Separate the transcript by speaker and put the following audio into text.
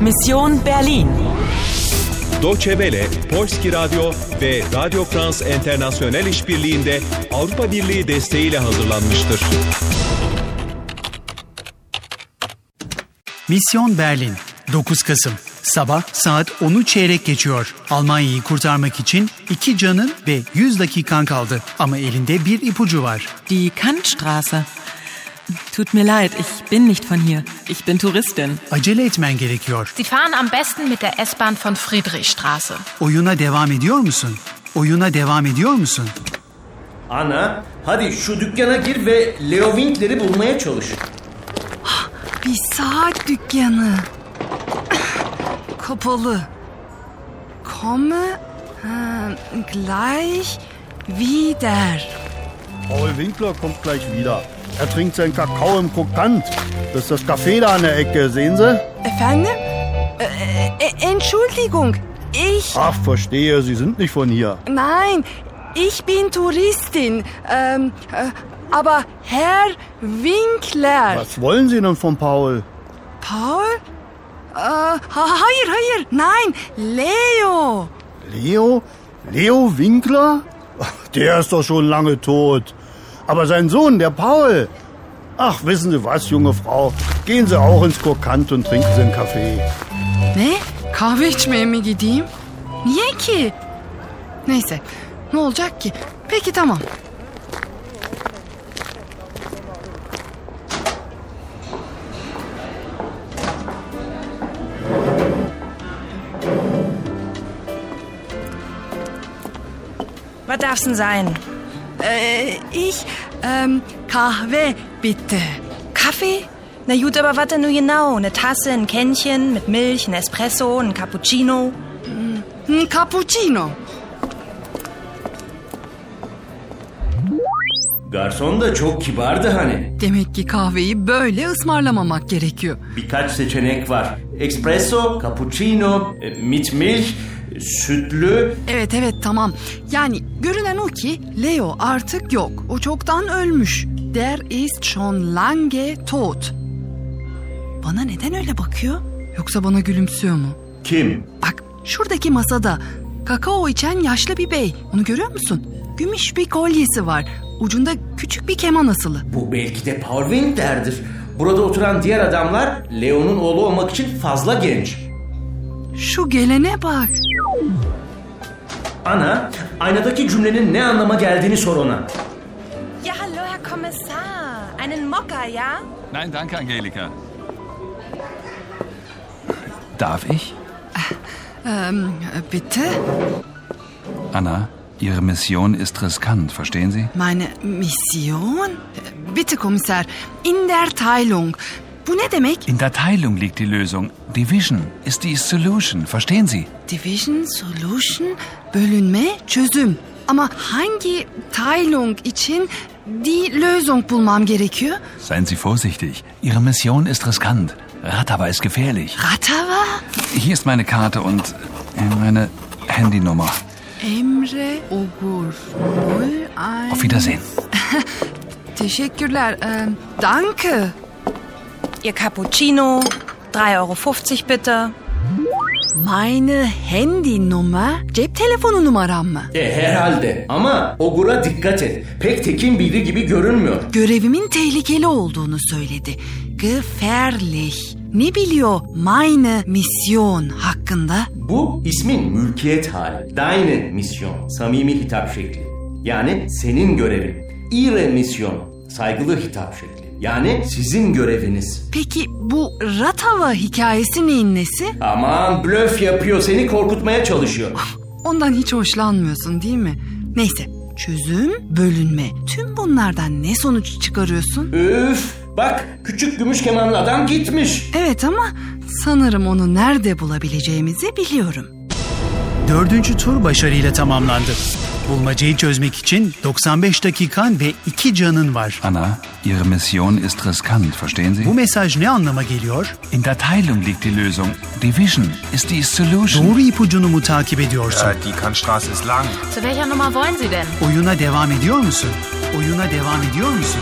Speaker 1: Mission Berlin.
Speaker 2: Deutsche Welle, Polski Radyo ve Radio France International işbirliğinde Avrupa Birliği desteğiyle hazırlanmıştır.
Speaker 3: Misyon Berlin 9 Kasım Sabah saat 10'u çeyrek geçiyor. Almanya'yı kurtarmak için iki canın ve 100 dakikan kaldı. Ama elinde bir ipucu var.
Speaker 4: Die Kantstraße. Tut mir leid, ich bin nicht von hier. Ich bin Touristin.
Speaker 3: Acele etmen gerekiyor.
Speaker 5: Sie fahren am besten mit der S-Bahn von Friedrichstraße.
Speaker 3: Oyuna devam ediyor musun? Oyuna devam ediyor musun?
Speaker 6: Ana, hadi şu dükkana gir ve Leo Winkler'i bulmaya çalış.
Speaker 7: Bir saat dükkanı. Kapalı. Komme ha, gleich wieder.
Speaker 8: Paul Winkler kommt gleich wieder. Er trinkt seinen Kakao im Krokant. Das ist das Café da an der Ecke, sehen Sie?
Speaker 7: Efendim? Ee, e- Entschuldigung. Ich
Speaker 8: Ach, verstehe, Sie sind nicht von hier.
Speaker 7: nein, ich bin Touristin. Ähm, äh, aber Herr Winkler.
Speaker 8: Was wollen Sie denn von Paul?
Speaker 7: Paul? Äh, ha- hayır hayır. Nein, Leo.
Speaker 8: Leo? Leo Winkler? Der ist doch schon lange tot. Aber sein Sohn, der Paul. Ach, wissen Sie was, junge Frau? Gehen Sie auch ins Krokant und trinken Sie einen Kaffee.
Speaker 7: Ne? Kahve içmeye mi gideyim? Niye ki? Neyse. Ne olacak ki? Peki tamam.
Speaker 9: Was darf's denn sein?
Speaker 7: Ee, ich ähm, kahve bitte.
Speaker 9: Kaffee? Na gut, aber was denn nun genau? Eine Tasse, ein Kännchen mit Milch, ein Espresso, ein Cappuccino?
Speaker 7: Hm, Cappuccino.
Speaker 6: Garson da çok kibardı hani.
Speaker 7: Demek ki kahveyi böyle ısmarlamamak gerekiyor.
Speaker 6: Birkaç seçenek var. Espresso, cappuccino, e, mit milk, e, sütlü.
Speaker 7: Evet evet tamam. Yani görünen o ki Leo artık yok. O çoktan ölmüş. Der ist schon lange tot. Bana neden öyle bakıyor? Yoksa bana gülümsüyor mu?
Speaker 6: Kim?
Speaker 7: Bak şuradaki masada kakao içen yaşlı bir bey. Onu görüyor musun? Gümüş bir kolyesi var. Ucunda küçük bir keman asılı.
Speaker 6: Bu belki de Paul Winkler'dir. Burada oturan diğer adamlar Leo'nun oğlu olmak için fazla genç.
Speaker 7: Şu gelene bak.
Speaker 6: Ana, aynadaki cümlenin ne anlama geldiğini sor ona.
Speaker 9: Ja, hallo, Herr Kommissar. Einen Mokka, ja?
Speaker 10: Nein, danke, Angelika. Darf ich?
Speaker 7: Ähm, bitte.
Speaker 10: Anna, Ihre Mission ist riskant, verstehen Sie?
Speaker 7: Meine Mission? Bitte Komiser, in der Teilung. Bu ne demek?
Speaker 10: In der Teilung liegt die Lösung. Division ist die Solution, verstehen Sie?
Speaker 7: Division, solution, bölünme, çözüm. Ama hangi Teilung için die Lösung bulmam gerekiyor?
Speaker 10: Seien Sie vorsichtig. Ihre Mission ist riskant. Ratava ist gefährlich.
Speaker 7: Ratava,
Speaker 10: Hier ist meine Karte und äh, meine Handynummer.
Speaker 7: Emre, Ogur, Null, ein...
Speaker 10: Auf Wiedersehen.
Speaker 7: Teşekkürler. ähm, danke.
Speaker 9: Ihr Cappuccino, 3,50 Euro bitte.
Speaker 7: Meine Handynummer, cep telefonu numaram mı?
Speaker 6: E herhalde. Ama Ogur'a dikkat et. Pek tekin biri gibi görünmüyor.
Speaker 7: görevimin tehlikeli olduğunu söyledi. Gefährlich. Ne biliyor meine Mission hakkında?
Speaker 6: Bu ismin mülkiyet hali. Deine misyon. Samimi hitap şekli. Yani senin görevin. Ihre misyon. Saygılı hitap şekli. Yani sizin göreviniz.
Speaker 7: Peki bu Ratava hikayesi neyin nesi?
Speaker 6: Aman blöf yapıyor. Seni korkutmaya çalışıyor.
Speaker 7: Ondan hiç hoşlanmıyorsun değil mi? Neyse çözüm, bölünme. Tüm bunlardan ne sonuç çıkarıyorsun?
Speaker 6: Üf. Bak küçük gümüş kemanlı adam gitmiş.
Speaker 7: Evet ama sanırım onu nerede bulabileceğimizi biliyorum.
Speaker 3: Dördüncü tur başarıyla tamamlandı. Bulmacayı çözmek için 95 dakikan ve 2 canın var.
Speaker 10: Anna, Ihre Mission ist riskant, verstehen
Speaker 3: Bu
Speaker 10: Sie?
Speaker 3: mesaj ne anlama geliyor?
Speaker 10: In der Teilung liegt die Lösung. Division ist die Solution.
Speaker 3: Doğru ipucunu mu takip ediyorsun?
Speaker 11: die Kantstraße ist lang.
Speaker 5: Zu welcher Nummer wollen Sie denn?
Speaker 3: Oyuna devam ediyor musun? Oyuna devam ediyor musun?